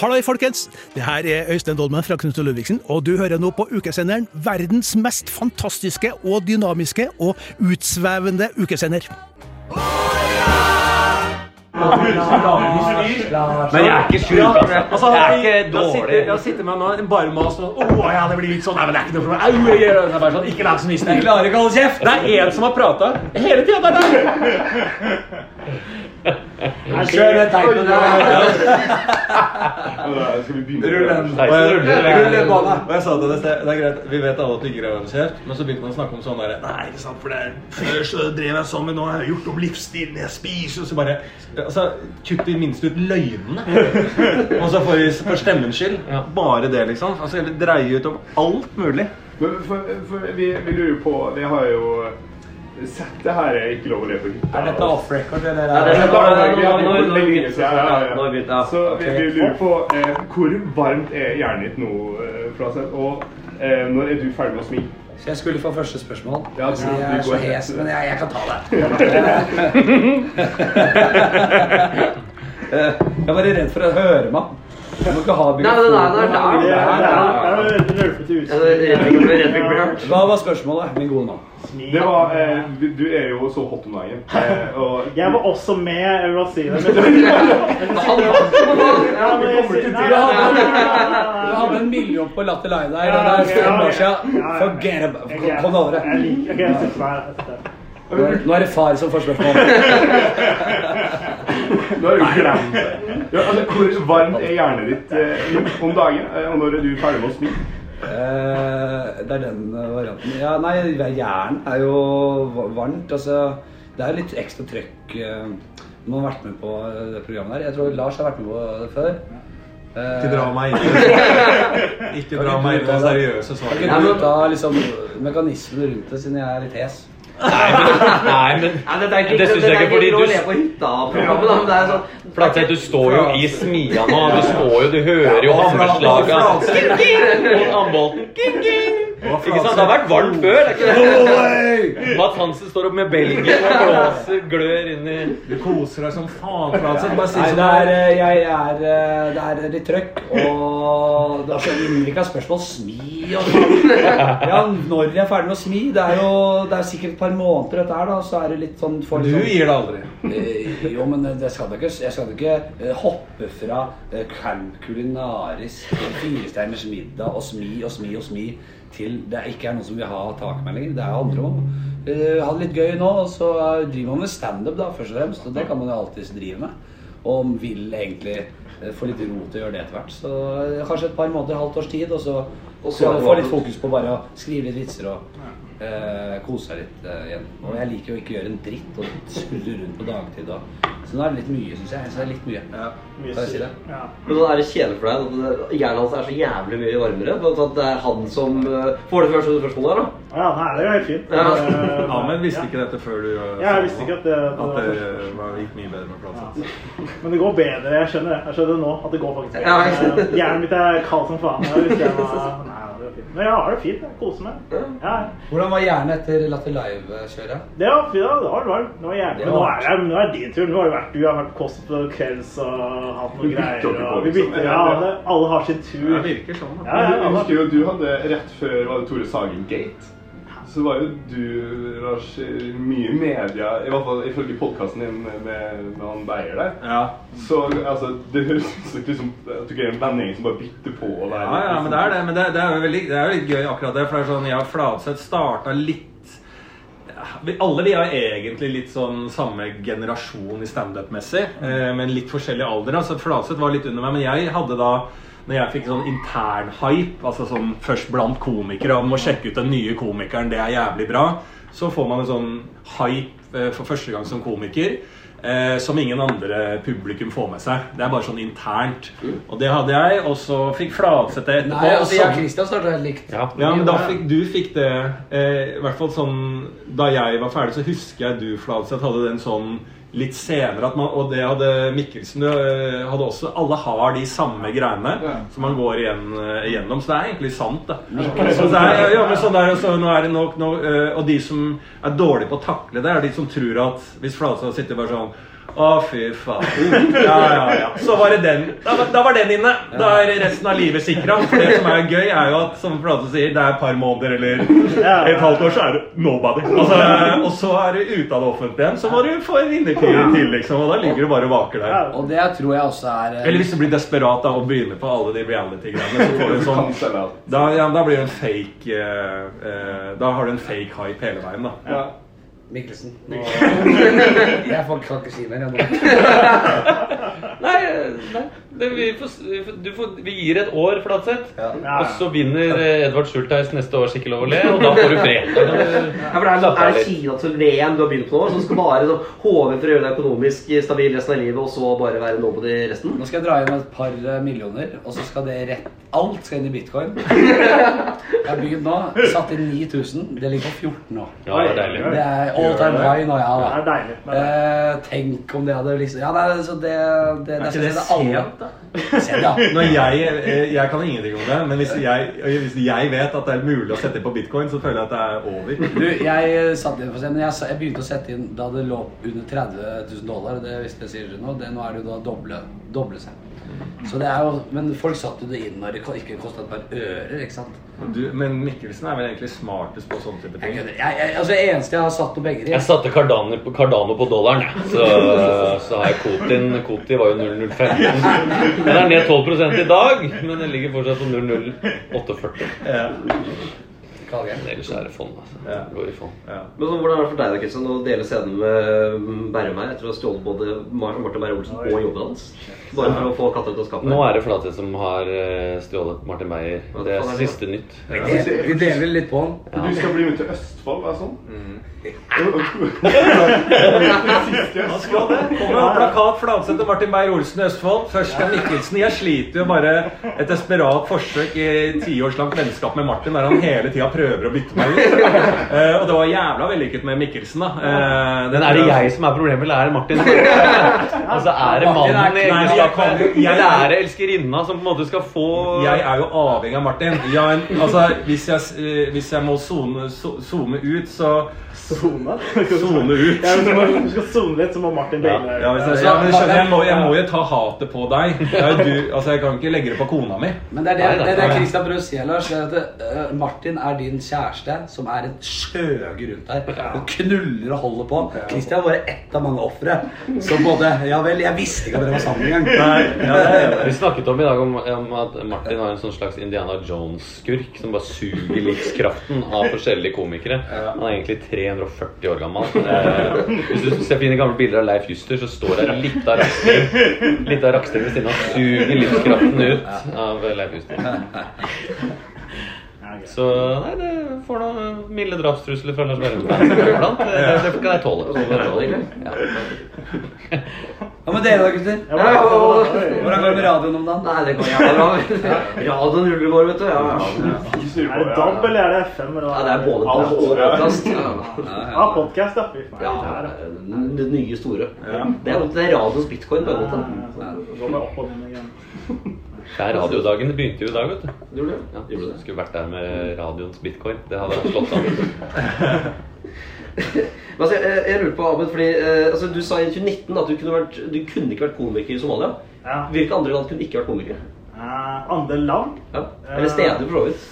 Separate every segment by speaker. Speaker 1: Halløy, folkens! Det her er Øystein Dolmen fra Knut og Ludvigsen, og du hører nå på ukesenderen verdens mest fantastiske og dynamiske og utsvevende ukesender.
Speaker 2: Men jeg er ikke sur.
Speaker 3: Altså,
Speaker 2: Jeg er ikke
Speaker 3: da
Speaker 2: dårlig.
Speaker 3: sitter- Da sitter man med en bare mas og Å ja, det blir litt sånn. Nei, men det er ikke noe for meg. Au, jeg gjør det. Det er bare sånn. Ikke lat som
Speaker 2: Jeg
Speaker 3: visste.
Speaker 2: klarer ikke å holde kjeft.
Speaker 3: Det er én som har prata hele tida. Det er deg.
Speaker 2: Kjør den teipen der.
Speaker 4: Skal vi begynne?
Speaker 2: Rull den.
Speaker 4: Nei,
Speaker 2: Rull den bana.
Speaker 5: Og jeg sa til henne i sted, det er greit, vi vet alle at du ikke greier å holde kjeft, men så begynte man å snakke om sånn derre Nei, ikke sant, for det er før så drev jeg sånn, men nå har jeg gjort om livsstilen, jeg spiser og så bare Altså, kutt i minst ut løgnene. og så for, for stemmens skyld. Bare det, liksom. Altså, heller dreie ut om alt mulig.
Speaker 4: Men for, for vi, vi lurer på Vi har jo sett det her er ikke lov å le på hytta.
Speaker 3: Er dette off record, eller?
Speaker 2: Ja,
Speaker 3: Er
Speaker 2: det
Speaker 4: Dette
Speaker 3: det?
Speaker 2: er-
Speaker 4: har vi- vi har
Speaker 2: Nå- nå-
Speaker 4: gjort
Speaker 2: nå-
Speaker 4: det lenge siden, ja, ja,
Speaker 2: Ja, nå har vi begynt,
Speaker 4: ja.
Speaker 2: ja.
Speaker 4: Så vi, vi lurer på eh, hvor varmt er jernet ditt nå, eh, Flaseth? Og eh, når er du ferdig med å smi?
Speaker 3: Så jeg skulle få første spørsmål.
Speaker 4: Ja, du-
Speaker 3: Så jeg er
Speaker 4: du
Speaker 3: så
Speaker 4: går
Speaker 3: hes,
Speaker 4: rett.
Speaker 3: men jeg, jeg kan ta det.
Speaker 5: Jeg var redd for å høre meg. Du må ikke ha
Speaker 2: Nei, den er der. der, der, der. Ja, det er redd ikke å bli redd for å bli hørt.
Speaker 5: Hva var spørsmålet, min gode mann?
Speaker 4: Det var eh, du, du er jo så hot om dagen. Eh, og
Speaker 6: Jeg var også med, jeg vil bare si det. Men
Speaker 2: Men han vant jo på den.
Speaker 6: Ja, men jeg sier- nei, nei, nei, nei, nei,
Speaker 5: Du
Speaker 6: nei.
Speaker 5: hadde en million på Latter Line der,
Speaker 6: Ja,
Speaker 5: og det
Speaker 6: ok,
Speaker 5: er fem
Speaker 6: ja,
Speaker 5: år siden.
Speaker 6: ja, ja.
Speaker 5: Forget it.
Speaker 6: Jeg-
Speaker 5: Kom- Kom deg over det.
Speaker 6: Jeg liker ok, jeg setter meg her. Jeg setter meg her.
Speaker 5: Nå er- Nå er det far som får spørsmål.
Speaker 4: Nå har du glemt det. Ja, altså, hvor varmt er jernet ditt eh, om dagen? Eh, og når er du ferdig med å smi?
Speaker 5: Eh, det er den eh, varianten. Ja, nei, jern er jo va- varmt. Altså, det er litt ekstra trøkk eh, når man har vært med på eh, det programmet her. Jeg tror Lars har vært med på det før. Eh, Ikke dra meg inn Ikke dra meg inn på seriøse svar. Kan ikke du ta liksom, mekanismen rundt det, siden jeg er litt hes?
Speaker 7: Nei, men
Speaker 2: Nei, dette er ikke-
Speaker 7: Det synes jeg
Speaker 2: dette er
Speaker 7: ikke, fordi
Speaker 2: lov å
Speaker 7: du-
Speaker 2: le på hytta-programmet, da, men det er sånn
Speaker 7: Flatseth, du står jo i smia nå. Du står jo, du hører jo hammerslaga. King, king! Mot ambolten. King, king! Ikke sant? Det har vært varmt før. det er ikke det? Mats Hansen står opp med belgen og blåser glør inn i
Speaker 5: Du koser deg som faen, Flatseth. Bare si det er, eh, jeg er, eh, det er litt trøkk, og det er så ulike spørsmål. Smi og sånn. Ja, når jeg er ferdig med å smi. Det er jo det er sikkert et par måneder, dette her, da. Så er det litt sånn for Du gir det aldri. Eh, Jo, men det skal du ikke. Jeg skal ikke eh, hoppe fra eh, Can Culinaris til Firesteiners middag og smi og smi og smi til det ikke er noen som vil ha tak i meg lenger. Det er jo andre om. Eh, ha det litt gøy nå, og så eh, driver man med standup, da, først og fremst. Og det kan man jo alltids drive med. Og vil egentlig eh, få litt ro til å gjøre det etter hvert. Så eh, kanskje et par måneder, halvt års tid, og så,
Speaker 2: Og så
Speaker 5: så
Speaker 2: er det
Speaker 5: få
Speaker 2: over.
Speaker 5: litt fokus på bare å skrive litt vitser og eh, kose seg litt eh, igjen. Og jeg liker jo ikke å gjøre en dritt og surre rundt på dagtid og Så nå er det litt mye, syns jeg. Så det er litt mye.
Speaker 6: Mye
Speaker 5: Kan jeg si det?
Speaker 6: sur. Ja.
Speaker 2: Men nå er det kjedelig for deg at hjernen hans er så jævlig mye varmere. Blant annet at det er han som eh, får det første spørsmålet her, da.
Speaker 6: Ja, nei, det er jo helt fint.
Speaker 2: Ja.
Speaker 6: Eh,
Speaker 5: Amen visste
Speaker 6: ja.
Speaker 5: ikke dette før du eh,
Speaker 6: Ja, jeg
Speaker 5: sa
Speaker 6: visste ikke
Speaker 5: nå.
Speaker 6: at det,
Speaker 5: At
Speaker 6: det var
Speaker 5: det var- gikk mye bedre med Flatseth.
Speaker 6: Men det går bedre, jeg skjønner det. Jeg skjønner det nå at det går faktisk bedre.
Speaker 2: Ja, ikke sant?
Speaker 6: Eh, Hjernen mitt er kald som faen. Jeg visste jeg var... Nei, det var fint. Men jeg har det fint, jeg koser meg. Ja,
Speaker 5: Hvordan var hjernen etter Latter Live-kjøret?
Speaker 6: det var fint, ja, det var varmt. Det var jævlig.
Speaker 5: Det
Speaker 6: Men
Speaker 5: var
Speaker 6: nå er,
Speaker 5: varmt.
Speaker 6: det, nå er det din tur. Nå har det vært, du har vært kost på kvelds og hatt noen
Speaker 4: Vi bytter
Speaker 6: greier.
Speaker 4: jo ikke på,
Speaker 6: Og vi
Speaker 4: liksom.
Speaker 6: bytter, ja, alle, alle har sin tur.
Speaker 5: Det virker sånn. da.
Speaker 6: Ja, ja,
Speaker 4: Jeg
Speaker 6: alle har
Speaker 4: husker jo du hadde rett før var det Tore Sagen Gate. Så var jo du, Lars, mye i media, i hvert fall ifølge podkasten din med, med han Beyer der.
Speaker 5: Ja.
Speaker 4: Så altså, det høres ut som liksom, at du ikke er en vennegjeng som bare bytter på. Og
Speaker 5: Ja, ja, men det er det. Men det, det, er jo veldig, det er jo litt gøy akkurat det. For det er sånn, jeg og Flatseth starta litt ja, vi, Alle vi er egentlig litt sånn samme generasjon i standup-messig, eh, men litt forskjellig alder. da. Så Flatseth var litt under meg, men jeg hadde da når jeg fikk sånn intern hype, altså sånn først blant komikere og må sjekke ut den nye komikeren, det er jævlig bra, så får man en sånn hype eh, for første gang som komiker. Eh, som ingen andre publikum får med seg. Det er bare sånn internt. Og det hadde jeg, og så fikk Flatseth det etterpå. og så-
Speaker 3: Kristian starta helt likt.
Speaker 7: Ja.
Speaker 5: ja, men da fikk, du fikk det eh, I hvert fall sånn Da jeg var ferdig, så husker jeg du, Fladseth, hadde den sånn
Speaker 8: litt senere. At man, og det hadde Mikkelsen øh, hadde også. Alle har de samme greiene som man går igjen, øh, igjennom. Så det er egentlig sant, da. Så det er, ja, men sånn der, og så, nå er det nok, nå, øh, og de som er dårlige på å takle det, er de som tror at hvis Flatstad sitter bare sånn å, fy faen. Ja, ja, ja. Så var det den. Da, var- da var den inne. Da er resten av livet sikra. For det som er gøy, er jo at som Flate sier, det er et par måneder eller et halvt år, så er du nobody. Altså, og så er du ute av det offentlige igjen. Så må du få en innertid til, liksom. Og da ligger du bare og vaker der.
Speaker 5: Og det tror jeg også er eh,
Speaker 8: Eller hvis du blir desperat da, og begynner på alle de reality-greiene, så får du en sånn
Speaker 4: Cancel out.
Speaker 8: da, ja, da blir det en fake eh, eh, Da har du en fake hype hele veien, da.
Speaker 4: Ja.
Speaker 5: Mikkelsen. Nå- Jeg får- kan ikke si mer jeg nå.
Speaker 7: Nei, nei. Det, vi, får, vi får- du får, vi gir et år, Flatseth. Og så vinner eh, Edvard Schultheis neste års Ikke lov å le, og da får du fred. Da kan du-
Speaker 2: Ja, for det er, er det Kina til VM du har begynt på nå, som skal bare så, håve for å gjøre deg økonomisk stabil resten av livet, og så bare være nobody resten?
Speaker 5: Nå skal jeg dra inn et par eh, millioner, og så skal det rett Alt skal inn i bitcoin. Jeg har begynt nå. Satt inn 9000. Det ligger på 14 nå.
Speaker 7: Ja, det er deilig.
Speaker 5: Det er all time high nå, ja.
Speaker 6: Det
Speaker 5: da.
Speaker 6: er deilig. Men det
Speaker 5: Eh, tenk om det hadde liksom Ja, nei, så det, det, det,
Speaker 8: ikke det sent,
Speaker 5: da? Sent, ja.
Speaker 8: Når jeg, eh, jeg kan ingenting om det, men hvis jeg, hvis jeg vet at det er mulig å sette inn på bitcoin, så føler jeg at det er over.
Speaker 5: Du, jeg eh, satte inn for å se, men jeg, sa- jeg begynte å sette inn da det lå under 30 000 dollar. Det hvis jeg sier det nå, det, nå er det jo da doble, doble seg. Så det er jo, men folk satte jo det inn når det ko- ikke kostet et par ører, ikke sant?
Speaker 8: Du, men Mikkelsen er vel egentlig smartest på sånne type
Speaker 5: Jeg,
Speaker 8: ting.
Speaker 5: kødder. jeg, jeg, altså, det eneste jeg har satt noen penger i
Speaker 7: Jeg satte Cardano på, Cardano på dollaren, jeg. Så, så har jeg Kotin. Koti var jo 0015. Den er ned 12 i dag, men den ligger fortsatt på 0048.
Speaker 5: Kalgen.
Speaker 7: Ellers er det fond, altså.
Speaker 8: Ja.
Speaker 7: Går i fond.
Speaker 2: Men så, Hvordan er det for deg da, Kristian, å dele scenen med mm, Bærum her etter å ha stjålet både Mar- Martin Beyer-Olsen og jobben hans? Bare for å få katta ut av skapet?
Speaker 7: Nå er det Flatseth som har eh, stjålet Martin Beyer. Det er siste nytt.
Speaker 5: Vi deler litt på den.
Speaker 4: Du skal bli med til Østfold, er det sånn?
Speaker 6: Mm.
Speaker 8: Han skal det. Kommer med plakat Fladseth og Martin Beyer-Olsen i Østfold. Først skal Mikkelsen. Jeg sliter jo bare et desperat forsøk i tiårslangt vennskap med Martin, der han hele tida prøver å bytte meg ut. Eh, Og det var jævla vellykket med Mikkelsen, da. Eh,
Speaker 7: Men er det jeg som er problemet, eller er det Martin? altså, er det
Speaker 5: Martin er
Speaker 7: mannen i
Speaker 8: ikke- Nei, men jeg kan
Speaker 7: egenskapet?
Speaker 8: jo- jeg-
Speaker 7: Eller er det elskerinna som på en måte skal få
Speaker 8: Jeg er jo avhengig av Martin. Jeg, altså, hvis, jeg, eh, hvis jeg må zone, so- zoome ut, så Zone ut.
Speaker 6: Ja, men når du skal zoome litt, så må Martin Beine
Speaker 8: Ja, hvis jeg, ja, men skjønner, jeg, må, jeg må jo ta hatet på deg. Det er jo du, altså, jeg kan ikke legge det på kona mi.
Speaker 5: Men det er det,
Speaker 7: Nei, nei,
Speaker 5: det, er det
Speaker 7: nei.
Speaker 5: Christian prøver å si, Lars. Det er at eh, Martin er din kjæreste, som er en skjøge rundt her. Og knuller og holder på. Christian var bare ett av mange ofre. Så både Ja vel, jeg visste ikke at dere var sammen engang.
Speaker 8: Ja, det er
Speaker 7: Vi snakket om i dag om, om at Martin har en sånn slags Indiana Jones-skurk som bare suger livskraften av forskjellige komikere. Han er egentlig 340 år gammel. Eh, hvis du ser fine gamle bilder av Leif Juster, så står det litt av Raksteng Litt av Raksteng ved siden av. Suger livskraften ut av Leif Juster. Så nei, det får noen milde drapstrusler fra Lars Berrum iblant. Det, det kan jeg tåle. Det kan jeg tåle. Ja.
Speaker 5: Hva med dere da, gutter?
Speaker 6: Ja, ja, ja, ja.
Speaker 5: Hvordan går det med radioen om dagen?
Speaker 2: Nei, det går jævla bra. Radioen ruller vår, vet du. Ja,
Speaker 4: Er
Speaker 6: Er det DAB eller er det FM? Eller? hva?
Speaker 2: ja det er både
Speaker 6: Alt.
Speaker 2: podcast og podcast. Ja.
Speaker 6: Ja, podcast, ja. Fy faen.
Speaker 2: Ja,
Speaker 6: Ja, ja.
Speaker 2: det nye store. Det er, det er radioens bitcoin. Bare godt, da.
Speaker 6: Så går vi opp og ned igjen.
Speaker 7: Det er radiodagen. Det begynte jo i dag, vet du.
Speaker 2: Gjorde du det?
Speaker 7: Ja,
Speaker 2: Gjorde du det?
Speaker 7: Skulle vært der med radioens bitcoin. Det hadde slått an.
Speaker 2: Men altså, jeg, jeg lurer på, Ahmed, fordi eh, altså, Du sa i 2019 at du kunne, vært, du kunne ikke vært komiker i Somalia.
Speaker 6: Ja.
Speaker 2: Hvilke andre land kunne ikke vært komikere?
Speaker 6: Eh, andre land,
Speaker 2: Ja. Eller steder, for så vidt.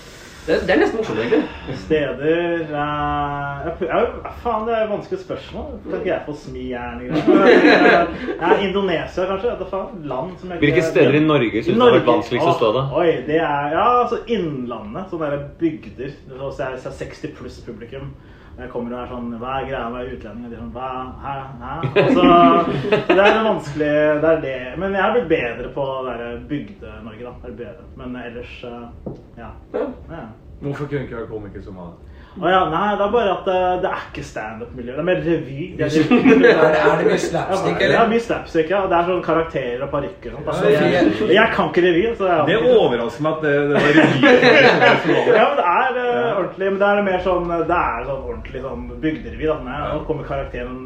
Speaker 2: Det, det er nesten morsomt, egentlig.
Speaker 6: steder eh, jeg, prø- ja, Faen, det er vanskelige spørsmål. Kan ikke jeg få smi jern? Ja, Indonesia, kanskje? Vet du faen. Land som jeg ikke
Speaker 7: Hvilke steder i Norge syns du har vært vanskeligst å stå da?
Speaker 6: Oi, det er ja, altså Innlandet. Sånne der bygder. Så er det 60 pluss publikum. Jeg kommer og er sånn Hva er greia med utlendinger? De er sånn Hva? Hæ? Hæ? Og Så, så det er det vanskelig Det er det. Men jeg har blitt bedre på det der Bygde-Norge, da. Jeg er bedre. Men ellers eh, ja. ja.
Speaker 8: Hvorfor kunne ikke være komiker som han?
Speaker 6: Å ja, nei, det er bare at eh, det er ikke standup-miljø. Det er mer revy. Det er,
Speaker 5: Er det, er det mye slapstick,
Speaker 6: Ja,
Speaker 5: eller?
Speaker 6: mye slapstick, ja. Og Det er sånn karakterer og parykker og sånt. Altså,
Speaker 5: Ja, ja,
Speaker 6: jeg, jeg kan ikke revy. Så jeg,
Speaker 8: Det overrasker meg at det, det var revy.
Speaker 6: Ja, men det er eh, ordentlig, men da er det mer sånn Det er sånn ordentlig sånn bygderevy. da. Nei, Nå kommer karakteren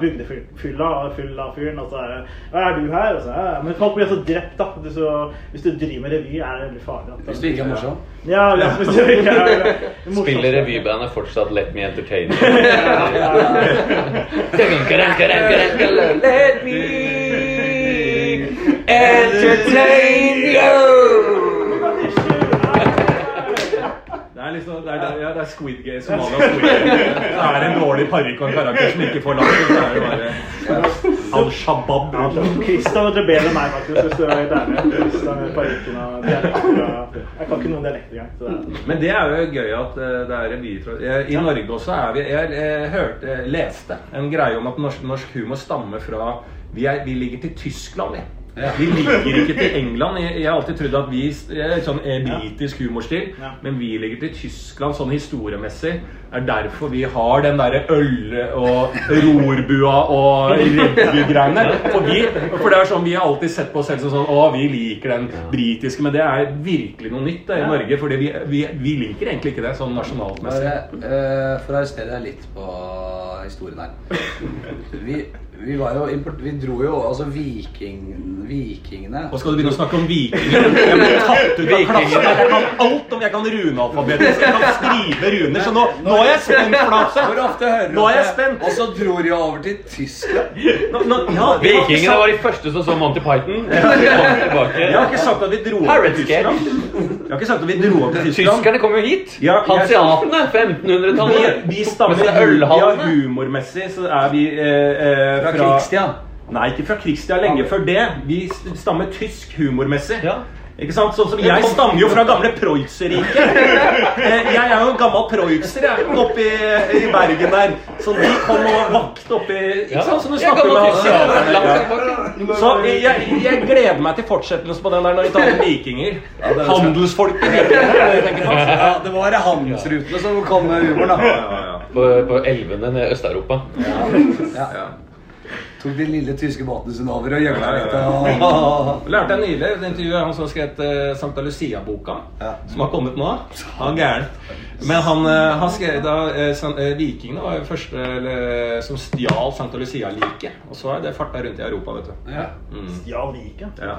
Speaker 6: bygdefylla og full av fyren, og så er det Ja, er du her? Og så, ja, ja. Men folk blir så drept, da. Du, så, hvis du driver med revy, er det veldig farlig. Da.
Speaker 5: Hvis du ikke er morsom.
Speaker 6: Ja, ja, hvis du ikke er morsom.
Speaker 7: Spiller revybandet fortsatt Let Me Entertain? Let me entertain you!
Speaker 8: Det er liksom, det er, det er, ja, det er Squid Game, Somalia og Squid Game. Det er en dårlig parykk og en karakter som ikke får latter. Så er det bare Al-Shabaab.
Speaker 6: Kristian vet det bedre enn meg, faktisk. hvis du er helt ærlig. Christian er parykken og dialekten og- Jeg kan ikke noen dialekt engang. så det er-
Speaker 8: Men det er jo gøy at eh, det er revytråd. I Norge også er vi Jeg, eh, hørte, eh, leste en greie om at norsk, norsk humor stammer fra vi, er, vi ligger til Tyskland, vi. Vi ligger ikke til England. Jeg, jeg har alltid trodd at vi eh, sånn eh, britisk humorstil,
Speaker 6: Ja.
Speaker 8: men vi ligger til Tyskland sånn historiemessig. er derfor vi har den derre øl- og rorbua og revy-greiene. For, vi, for det er sånn vi har alltid sett på oss selv som sånn Å, vi liker den britiske. Men det er virkelig noe nytt det, i Norge. For vi, vi, vi liker egentlig ikke det sånn nasjonalt messig.
Speaker 5: Bare, eh, for å arrestere deg litt på historien her. Vi, vi var jo import... Vi dro jo Altså viking, vikingene
Speaker 8: Og skal du begynne å snakke om vikinger? Jeg ble tatt ut av klassen. Jeg kan alt om jeg kan runealfabetet. så Jeg kan skrive runer. Så nå, nå er jeg spent,
Speaker 5: Hvor
Speaker 8: Flatse.
Speaker 5: ofte hører du
Speaker 8: Nå er jeg
Speaker 5: at-
Speaker 8: spent.
Speaker 5: Og så dro de jo over til Tyskland.
Speaker 8: Nå- nå- ja, vi har ikke
Speaker 7: Vikingene
Speaker 8: sagt-
Speaker 7: var de første som så Monty Python. De kom
Speaker 8: Jeg har
Speaker 7: tilbake.
Speaker 8: ikke sagt at vi dro over
Speaker 7: Pirate
Speaker 8: til
Speaker 7: Skate.
Speaker 8: Tyskland. Jeg har ikke sagt at vi dro over til Tyskland.
Speaker 7: Tyskerne kom jo hit.
Speaker 8: Ja, jeg-
Speaker 7: Hanseatene.
Speaker 8: Vi,
Speaker 7: 1500-tallet.
Speaker 8: vi stammer
Speaker 7: Mens det er
Speaker 8: ja,
Speaker 7: ølhallene.
Speaker 8: humormessig, så er vi eh, eh,
Speaker 5: Fra Krigstian.
Speaker 8: Nei, ikke fra krigstida. Lenge før det. Vi stammer tysk humormessig.
Speaker 7: Ja.
Speaker 8: Ikke sant? Sånn som jeg stammer jo fra gamle Preussen-riket. Eh, Jeg er jo en gammel preusser, jeg, oppe i, i Bergen der. Så de kom og vakte oppi Ikke sant? Så du
Speaker 7: Jeg
Speaker 8: snakker
Speaker 7: kan
Speaker 8: med
Speaker 7: godt si
Speaker 8: han.
Speaker 7: det. Langt tilbake.
Speaker 8: Så jeg, jeg gleder meg til fortsettelsen på den der når de tar med vikinger. Handelsfolket. vikinger, tenker jeg.
Speaker 5: Ja, det var handelsrutene som kom med humoren, da.
Speaker 7: På, på elvene nede i Øst-Europa.
Speaker 5: Tok de lille tyske båtene sine over og gjemte seg litt. og-
Speaker 8: Lærte jeg nylig et intervju av han som har skrevet eh, Sankta Lucia-boka,
Speaker 5: Ja.
Speaker 8: som har kommet nå. Han er gæren. Men han eh, har skrevet da eh, san- eh, Vikingene var jo første eller, som stjal Sankta Lucia-liket. Og så har det farta rundt i Europa, vet du.
Speaker 5: Ja.
Speaker 6: Ja, like.
Speaker 8: Ja.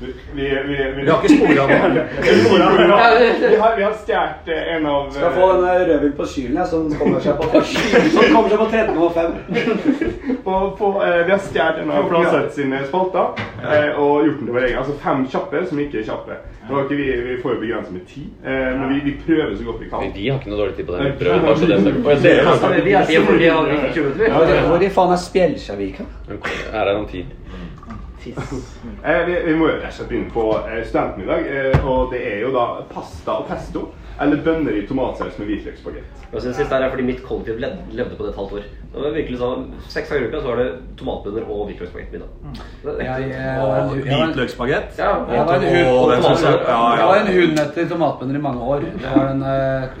Speaker 4: Vi, vi, vi, vi,
Speaker 8: Vi har ikke spora nå.
Speaker 4: vi har, vi har stjålet en av eh,
Speaker 5: Skal få denne rødvin på skylen, jeg, som kommer seg på, som kommer seg på 13,5.
Speaker 4: på, på, eh, Vi har stjålet en av Flaseth sine spalter eh, og gjort den til vår egen. Altså fem kjappe som ikke er kjappe. Nå har ikke vi, vi får jo begrenset med ti, eh, men vi, vi prøver så godt vi
Speaker 7: Men
Speaker 4: kan.
Speaker 7: De har ikke noe dårlig tid på det. Vi prøver bare så det er sagt. Og jeg ser-
Speaker 2: Ja, men vi er fire, for vi har ikke kjøpt det.
Speaker 5: Hvor, hvor i faen er Spjelkjavika?
Speaker 7: Her er det om ti.
Speaker 4: Eh, vi, vi må jo rett og slett begynne på eh, studentmiddag, eh, og det er jo da pasta og pesto. Eller bønner i tomatsaus med hvitløksbagett.
Speaker 2: Og så sist her er fordi mitt kollektiv led- levde på det et halvt år. Det var virkelig sånn, Seks dager i uka så var det tomatbønner og hvitløksbaguett middag. Det er
Speaker 5: Jeg,
Speaker 2: ekte.
Speaker 5: eh, var en-
Speaker 8: Og
Speaker 5: jeg var en-
Speaker 8: hvitløksbagett.
Speaker 2: Ja,
Speaker 5: jeg var en
Speaker 8: Og
Speaker 5: hund-
Speaker 8: den synes jeg- ja,
Speaker 5: jeg var
Speaker 8: ja.
Speaker 5: en hund etter tomatbønner i mange år. Det var den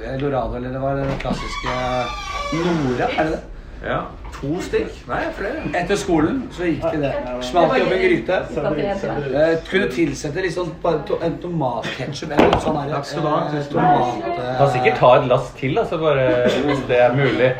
Speaker 5: eh, Lorado, eller det var den klassiske eh, Nora, er det det?
Speaker 8: Ja. To stykk? Nei, flere.
Speaker 5: Etter skolen så gikk de det. Smalt opp en gryte. Eh, kunne tilsette litt sånn bare to, en tomatketchup eller noe sånt. Takk
Speaker 8: skal du ha.
Speaker 5: Tomat... eh.
Speaker 7: Kan sikkert ta et lass til, altså, bare, hvis det er mulig.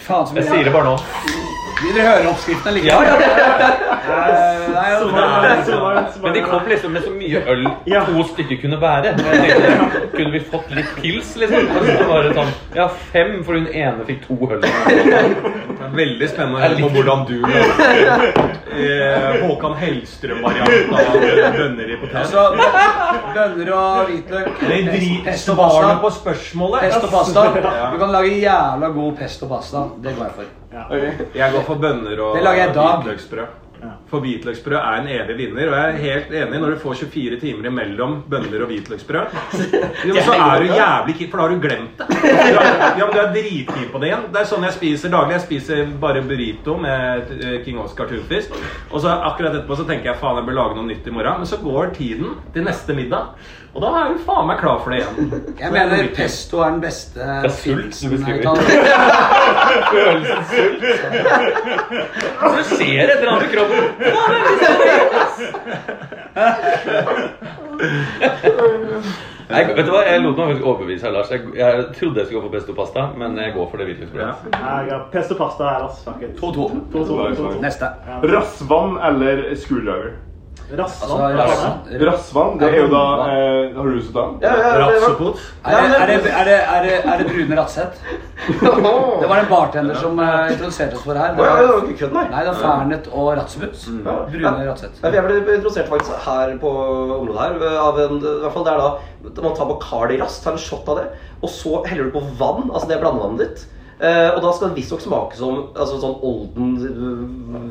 Speaker 5: Faen som
Speaker 7: Jeg sier det bare nå.
Speaker 5: Vil dere høre oppskriften
Speaker 7: Ja,
Speaker 5: likevel?
Speaker 7: ja, ja.
Speaker 5: Eh, nei,
Speaker 6: Så
Speaker 5: ja.
Speaker 6: var det- så var det- så var
Speaker 7: Men de
Speaker 6: det-
Speaker 7: kom liksom med så mye øl
Speaker 6: Ja.
Speaker 7: to stykker kunne bære. Jeg tenkte, Kunne vi fått litt pils, liksom? Og så var det sånn Ja, fem, for hun ene fikk to øl.
Speaker 8: Det er Veldig spennende å høre på hvordan du lager eh, Håkan Hellstrøm-varianten av bønner i potet.
Speaker 5: Altså, bønner og hvitløk.
Speaker 8: Det er
Speaker 5: pest-
Speaker 8: drit
Speaker 5: Pesto og
Speaker 8: svarene på
Speaker 5: pasta.
Speaker 8: spørsmålet.
Speaker 5: Pesto og pasta. Du kan lage jævla god pesto og pasta. Det går jeg for.
Speaker 8: Jeg går for bønner og
Speaker 5: Det lager jeg i dag.
Speaker 8: hvitløksbrød. For hvitløksbrød er en evig vinner. Og jeg er helt enig når du får 24 timer imellom bønner og hvitløksbrød. Jo, men så er du jævlig keen, for da har du glemt det. Du er- Ja, men du er dritkeen på det igjen. Det er sånn jeg spiser daglig. Jeg spiser bare burrito med eh, King Oscar tunfisk. Og så akkurat etterpå så tenker jeg faen, jeg bør lage noe nytt i morgen. Men så går tiden til neste middag, og da er du faen meg klar for det igjen.
Speaker 5: Jeg mener pesto er den beste Det
Speaker 7: er sult du beskriver.
Speaker 5: beskriver.
Speaker 7: Følelsen sult. Så du ser et eller annet i kroppen. Jeg, vet du hva, jeg lot meg faktisk overbevise av Lars. Jeg, jeg trodde jeg skulle gå for pesto pasta, men jeg går for det hvitløksbrødet.
Speaker 6: Nei, ja, Pesto pasta her, ass. Fuck it.
Speaker 3: 2-2.
Speaker 6: 2-2, 2-2.
Speaker 5: Neste.
Speaker 4: Rassvann eller screwdriver?
Speaker 5: Altså,
Speaker 6: Rassvann.
Speaker 5: rassen.
Speaker 4: Rassvann, det er jo da eh, Har du lyst til å ta den?
Speaker 8: Rapsopot.
Speaker 5: Er det, er, det, er, det, er, det, er det Brune Ratseth? Det var en bartender som eh, introduserte oss for det her.
Speaker 2: Å, ja, det var
Speaker 5: Det
Speaker 2: ikke kødd, nei. Mm.
Speaker 5: var, nei, det var Fernet og Ratsmus. Brune
Speaker 2: Nei,
Speaker 5: Ratseth.
Speaker 2: for Jeg ble introdusert faktisk her på området her av en I hvert fall det er da Man tar Bacardi raskt, tar en shot av det, og så heller du på vann, altså det er blandevannet ditt. Eh, og da skal det visstnok smake som altså sånn olden eh,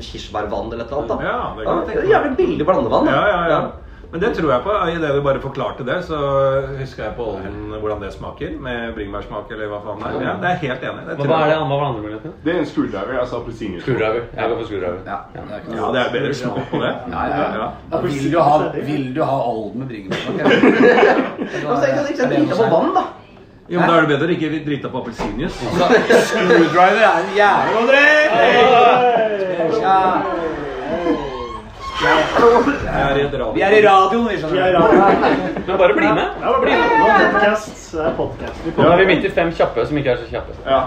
Speaker 2: kirsebærvann eller et eller annet. da.
Speaker 8: Ja, det kan jeg tenke meg.
Speaker 2: Jævlig billig blandevann. da.
Speaker 8: Ja, ja, ja. Men det tror jeg på. Idet du bare forklarte det, så husker jeg på olden hvordan det smaker. Med bringebærsmak eller hva faen det er. Ja, det er jeg helt enig. Det
Speaker 7: Men
Speaker 8: tror
Speaker 7: hva er det
Speaker 8: jeg på.
Speaker 7: andre, hva er andre muligheten?
Speaker 4: Det er en screwdriver, altså appelsinjuice.
Speaker 7: Skrudriver. Jeg går for skrudriver.
Speaker 5: Ja, det er ikke
Speaker 8: Ja,
Speaker 5: noe.
Speaker 8: det er bedre smak på det.
Speaker 5: Ja, ja, ja.
Speaker 8: Ja.
Speaker 5: Da Vil du ha, vil du ha Olden med bringebærsmak? eller?
Speaker 2: Ja, men så er det ikke sant, drita på vann, da.
Speaker 8: Jo, men da er det bedre å ikke drite på appelsinjuice.
Speaker 5: Screwdriver er en jævla Ja.
Speaker 8: Jeg er i et
Speaker 5: Vi
Speaker 8: radio.
Speaker 5: er i radioen, vi
Speaker 6: Ja,
Speaker 5: skjønner.
Speaker 6: ja, ja.
Speaker 7: Men bare bli med.
Speaker 6: Ja, men bli med. Nå er det podcast. Det er podcast. Vi
Speaker 7: Nå
Speaker 6: får
Speaker 7: er vi midt i fem kjappe som ikke er så kjappe.
Speaker 4: Ja.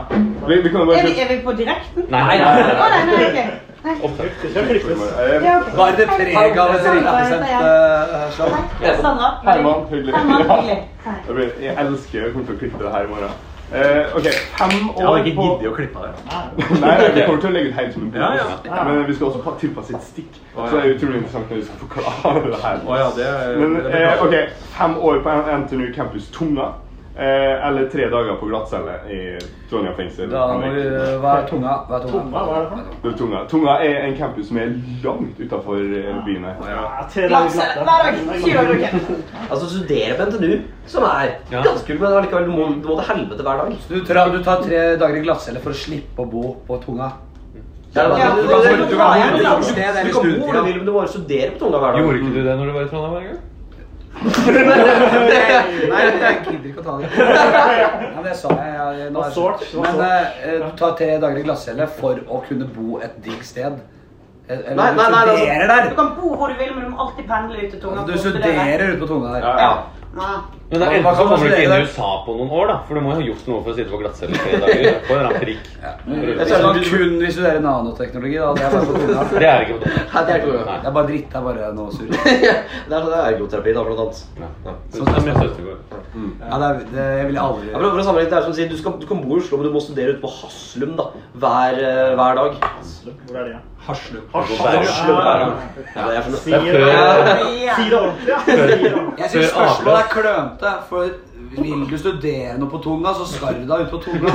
Speaker 4: Vi, vi kan jo
Speaker 9: Er
Speaker 4: bare
Speaker 9: vi, er vi på direkten?
Speaker 7: Nei, nei, nei.
Speaker 9: Å, nei, nei, ok. Nei.
Speaker 6: skal klippes.
Speaker 4: Eh,
Speaker 9: Ja, ok.
Speaker 5: Bare det preget av en riktig uh, slag.
Speaker 9: Sandra?
Speaker 4: Herman, hyggelig.
Speaker 9: Herman, hyggelig. Hei.
Speaker 4: Jeg, blir, jeg elsker Jeg kommer til å klippe det her i morgen. Eh, OK, fem
Speaker 8: Jeg hadde
Speaker 4: år
Speaker 8: ikke
Speaker 4: på
Speaker 8: giddet å klippe det.
Speaker 4: Nei, nei, vi kommer til å legge ut helt som en
Speaker 8: Ja, ja.
Speaker 4: bonus. Men vi skal også pa- tilpasse et stikk. Så det er utrolig interessant når vi skal forklare det her.
Speaker 8: Å ja, det er
Speaker 4: Men
Speaker 8: det
Speaker 4: eh,
Speaker 8: beklager.
Speaker 4: OK, fem år på NTNU Campus Tunga. Eh, eller tre dager på glattcelle i Trondheim fengsel.
Speaker 5: Da må vi Hva er tunga? Hva er tunga?
Speaker 6: Hva var det for noe?
Speaker 4: Det er Tunga. Tunga er en campus som er langt utafor byen her.
Speaker 6: Ja, tre dager
Speaker 9: Lakse
Speaker 6: glatte.
Speaker 9: hver dag. Syv dager i uken.
Speaker 2: Altså studere på NTNU, som er
Speaker 7: Ja.
Speaker 2: ganske kult, men allikevel du må, du må til helvete hver dag.
Speaker 5: Du, tra, du tar tre dager i glattcelle for å slippe å bo på tunga.
Speaker 2: Ja,
Speaker 5: Ja,
Speaker 2: men-
Speaker 5: du kan-
Speaker 2: det- det-
Speaker 5: du kan bo
Speaker 2: det-
Speaker 5: et
Speaker 2: det-
Speaker 5: annet sted enn i
Speaker 2: Du kan bo hvor
Speaker 5: studietida.
Speaker 2: du vil, men du må jo studere på Tunga hver dag.
Speaker 7: Gjorde ikke du det når du var i Trondheim hver gang?
Speaker 5: Nei, jeg gidder ikke å ta det. Ja, men det sa jeg. jeg nå er
Speaker 6: Det var sårt, det var
Speaker 5: men
Speaker 6: sårt.
Speaker 5: eh, du tar tre dager i glattcelle for å kunne bo et digg sted. Eh, Eller
Speaker 2: Nei, nei, nei,
Speaker 5: altså, du
Speaker 2: nei.
Speaker 5: studerer
Speaker 9: Du
Speaker 5: der.
Speaker 9: kan bo hvor du vil, men du må alltid pendle ut til tunga.
Speaker 5: Du studerer ute på tunga der.
Speaker 4: Ja.
Speaker 9: Ja.
Speaker 7: Men
Speaker 5: Hva- hva
Speaker 7: da, enten så
Speaker 5: kan man
Speaker 7: kommer du ikke inn i
Speaker 5: studere?
Speaker 7: USA på noen år, da. For du må jo ha gjort noe for å sitte på glattcelle i tre dager. På en eller annen prikk.
Speaker 5: Hvis man kun vil studere nanoteknologi, da. Det er bare på tunga.
Speaker 7: Det er ikke på Trondheim.
Speaker 2: Nei, det er Tunga.
Speaker 5: Det er bare dritt. Det er bare noe surr.
Speaker 2: Det er sånn det er ergoterapi, da, blant annet.
Speaker 7: Sånn som min søster går.
Speaker 5: Ja, det, er, det jeg ville aldri
Speaker 2: Jeg prøver å sammenligne det er som å si, du, skal, du kan bo i Oslo, men du må studere ute på Haslum da, hver, eh, hver dag.
Speaker 6: Hvor er det?
Speaker 8: Haslum.
Speaker 2: Haslum hver dag. Ja, det er sånn.
Speaker 6: Si det
Speaker 9: Ja.
Speaker 6: si det ordentlig, ja. Si det ordentlig.
Speaker 5: Jeg syns
Speaker 7: Før avløp.
Speaker 5: spørsmålet er klønete. For vil du studere noe på tunga, så skal du deg ut på tunga.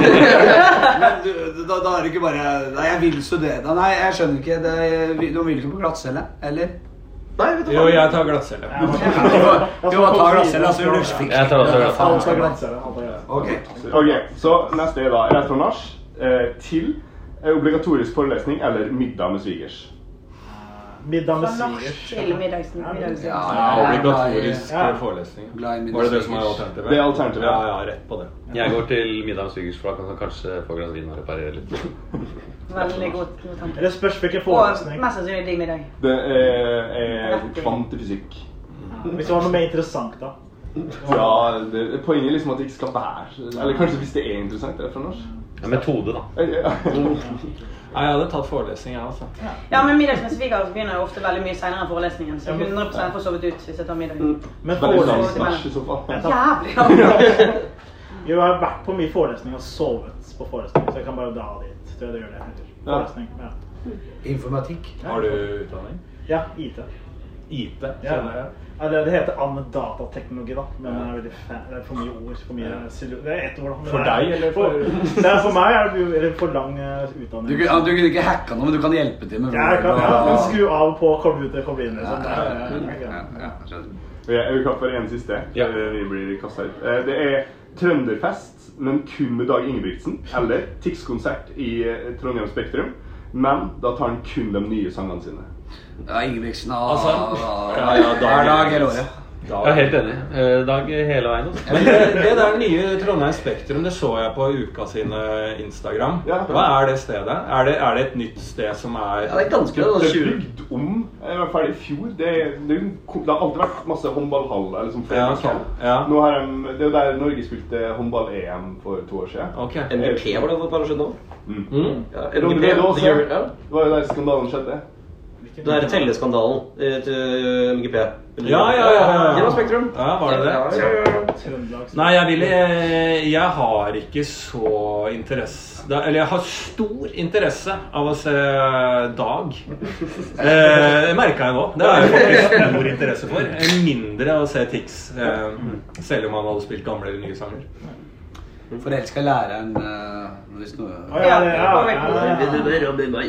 Speaker 5: Men du, da, da er det ikke bare Nei, jeg vil studere Nei, jeg skjønner ikke. Det, du vil ikke på glattcelle, eller?
Speaker 2: Nei, vet du
Speaker 8: Jo,
Speaker 2: hva.
Speaker 8: jeg tar glattcelle.
Speaker 6: Ja, men-
Speaker 5: Du må ta glattcelle, altså, så vil du fikse
Speaker 7: Jeg tar også glattcelle.
Speaker 6: Alt skal glanse, alt skal glanse.
Speaker 5: Ok.
Speaker 4: OK, så neste er da rett fra nach eh, til eh, obligatorisk forelesning eller middag med svigers.
Speaker 6: Middag med
Speaker 9: Fra nach
Speaker 6: svigers.
Speaker 9: til middags- middags-
Speaker 5: Ja,
Speaker 8: Ja,
Speaker 5: jeg er glad i-
Speaker 8: obligatorisk
Speaker 6: Ja.
Speaker 8: forelesning.
Speaker 5: Glad i middag.
Speaker 8: Var det det som var alternativet?
Speaker 4: Det er alternativet.
Speaker 8: Ja, ja, rett på det.
Speaker 7: Jeg går til middag med svigers, for da kan han kanskje få glass vin og reparere litt.
Speaker 9: Veldig god god tanke.
Speaker 6: Eller spørs hvilken
Speaker 9: Og
Speaker 6: forelesning.
Speaker 9: mest sannsynlig digg middag.
Speaker 4: Det er, er kvantefysikk.
Speaker 6: Hvis det var noe mer interessant, da.
Speaker 4: Ja, det, poenget er liksom at det ikke skal være Eller kanskje hvis det er interessant, rett fra nach.
Speaker 7: Ja, metode, da.
Speaker 4: Eh, ja.
Speaker 8: Nei, jeg hadde tatt forelesning, jeg, altså.
Speaker 9: Ja, men middags med svigers begynner jo ofte veldig mye senere enn forelesningen, så
Speaker 6: Ja, men-
Speaker 9: 100 får sovet ut hvis jeg tar middag.
Speaker 6: Men
Speaker 4: Veldig
Speaker 9: sånn.
Speaker 6: forelesning
Speaker 4: sans nach i så fall.
Speaker 9: Jævlig! ja.
Speaker 6: Jo, jeg har vært på mye forelesning og sovet på forelesning, så jeg kan bare dra dit. Tror jeg det gjør det. heller.
Speaker 4: Ja.
Speaker 6: Forelesning, ja.
Speaker 5: eh, Informatikk.
Speaker 8: Har du utdanning?
Speaker 6: Ja, IT.
Speaker 8: IT,
Speaker 6: Ja.
Speaker 8: kjenner jeg.
Speaker 6: Ja, det, det heter anvendt datateknologi, da. Men det er, veldig fa- det er for mye ord. For mye silo- Det er ett ord. da, men
Speaker 8: For
Speaker 6: det er-
Speaker 8: deg, eller for-
Speaker 6: Det er for meg er det jo- eller for lang eh,
Speaker 5: Du,
Speaker 6: utdanning.
Speaker 5: kunne- ja, du kunne ikke hacka noe, men du kan hjelpe til med
Speaker 6: Ja, jeg kan, ja, men skru av og på, kom ut og kom inn. Liksom. Det er- det er
Speaker 5: Ja,
Speaker 6: greit.
Speaker 5: ja, skjønner.
Speaker 4: Ok, Er vi klar for en siste?
Speaker 7: Ja.
Speaker 4: Eh, Vi blir kastet ut. Eh, Det er Trønderfest, men kun med Dag Ingebrigtsen. Eller Tix-konsert i eh, Trondheim Spektrum. Men da tar han kun de nye sangene sine.
Speaker 5: Ja, Ingebrigtsen
Speaker 8: Altså,
Speaker 5: av
Speaker 8: ja, ja,
Speaker 5: hver dag hele året.
Speaker 7: Jeg er helt enig. Eh, Dag hele veien. altså.
Speaker 8: Men det, det der nye Trondheim Spektrum, det så jeg på Uka sine Instagram.
Speaker 4: Ja.
Speaker 8: Hva er det stedet? Er det, er det et nytt sted som er
Speaker 2: Ja, det er ganske det
Speaker 4: Det
Speaker 2: er
Speaker 4: er
Speaker 2: 20.
Speaker 4: bygd om. Jeg var ferdig i fjor. Det, det, er jo en ko- det har alltid vært masse håndballhaller. Liksom, for
Speaker 8: Ja, ok.
Speaker 4: hall.
Speaker 8: Ja.
Speaker 4: Nå har de, det er jo der Norge spilte håndball-EM for to år siden.
Speaker 8: Ok.
Speaker 2: MGP var det for et par år siden òg.
Speaker 8: Mm.
Speaker 2: Ja,
Speaker 4: Det var
Speaker 2: MGP,
Speaker 4: det også.
Speaker 2: the Euro- ja.
Speaker 4: Det var jo der skandalen skjedde.
Speaker 2: Den der telleskandalen eh, til MGP.
Speaker 8: Ja, ja, ja, ja, ja.
Speaker 2: Det var Spektrum.
Speaker 8: Ja, var det det?
Speaker 2: Ja, ja, ja.
Speaker 6: Trøndelags
Speaker 8: Nei, jeg vil eh, Jeg har ikke så interesse da- Eller jeg har stor interesse av å se Dag. Eh, Det merka jeg nå. Det har jeg faktisk stor interesse for. Eh, Mindre å se Tix. Eh, selv om han hadde spilt gamle eller nye sanger.
Speaker 5: Forelska læreren eh, hvis noe
Speaker 6: Å, ja, det- ja, ja, ja, ja. Ja, men ja,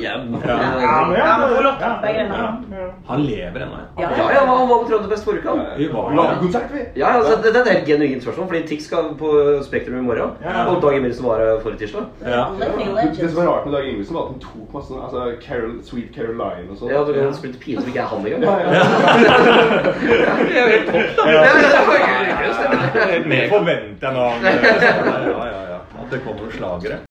Speaker 9: Ja, men Olof,
Speaker 6: ja,
Speaker 9: begge
Speaker 6: ja,
Speaker 9: deler.
Speaker 6: ja.
Speaker 8: Han lever ennå, ja.
Speaker 9: Ja,
Speaker 2: Ja, ja, han var på Trønderfest forrige uke. han.
Speaker 8: Vi
Speaker 4: Vi lagde
Speaker 8: var
Speaker 4: konsert, vi!
Speaker 2: Ja, altså, det, det er et helt genuint spørsmål, fordi Tix skal på Spektrum i morgen.
Speaker 6: Ja.
Speaker 2: Og Dag Emilsen var her forrige tirsdag.
Speaker 8: ja.
Speaker 4: Det det som var rart med Dag Ingebrigtsen, var at han tok masse sånn, altså, Carol, Sweet Caroline og sånn.
Speaker 2: Ja, du kan spille til pine som ikke er han engang.
Speaker 4: Ja, ja.
Speaker 2: Det er jo helt topp, da. Ja, det er jo gøy, det stemmer.
Speaker 8: Det forventer jeg nå. Ja, ja, ja. At det kommer slagere.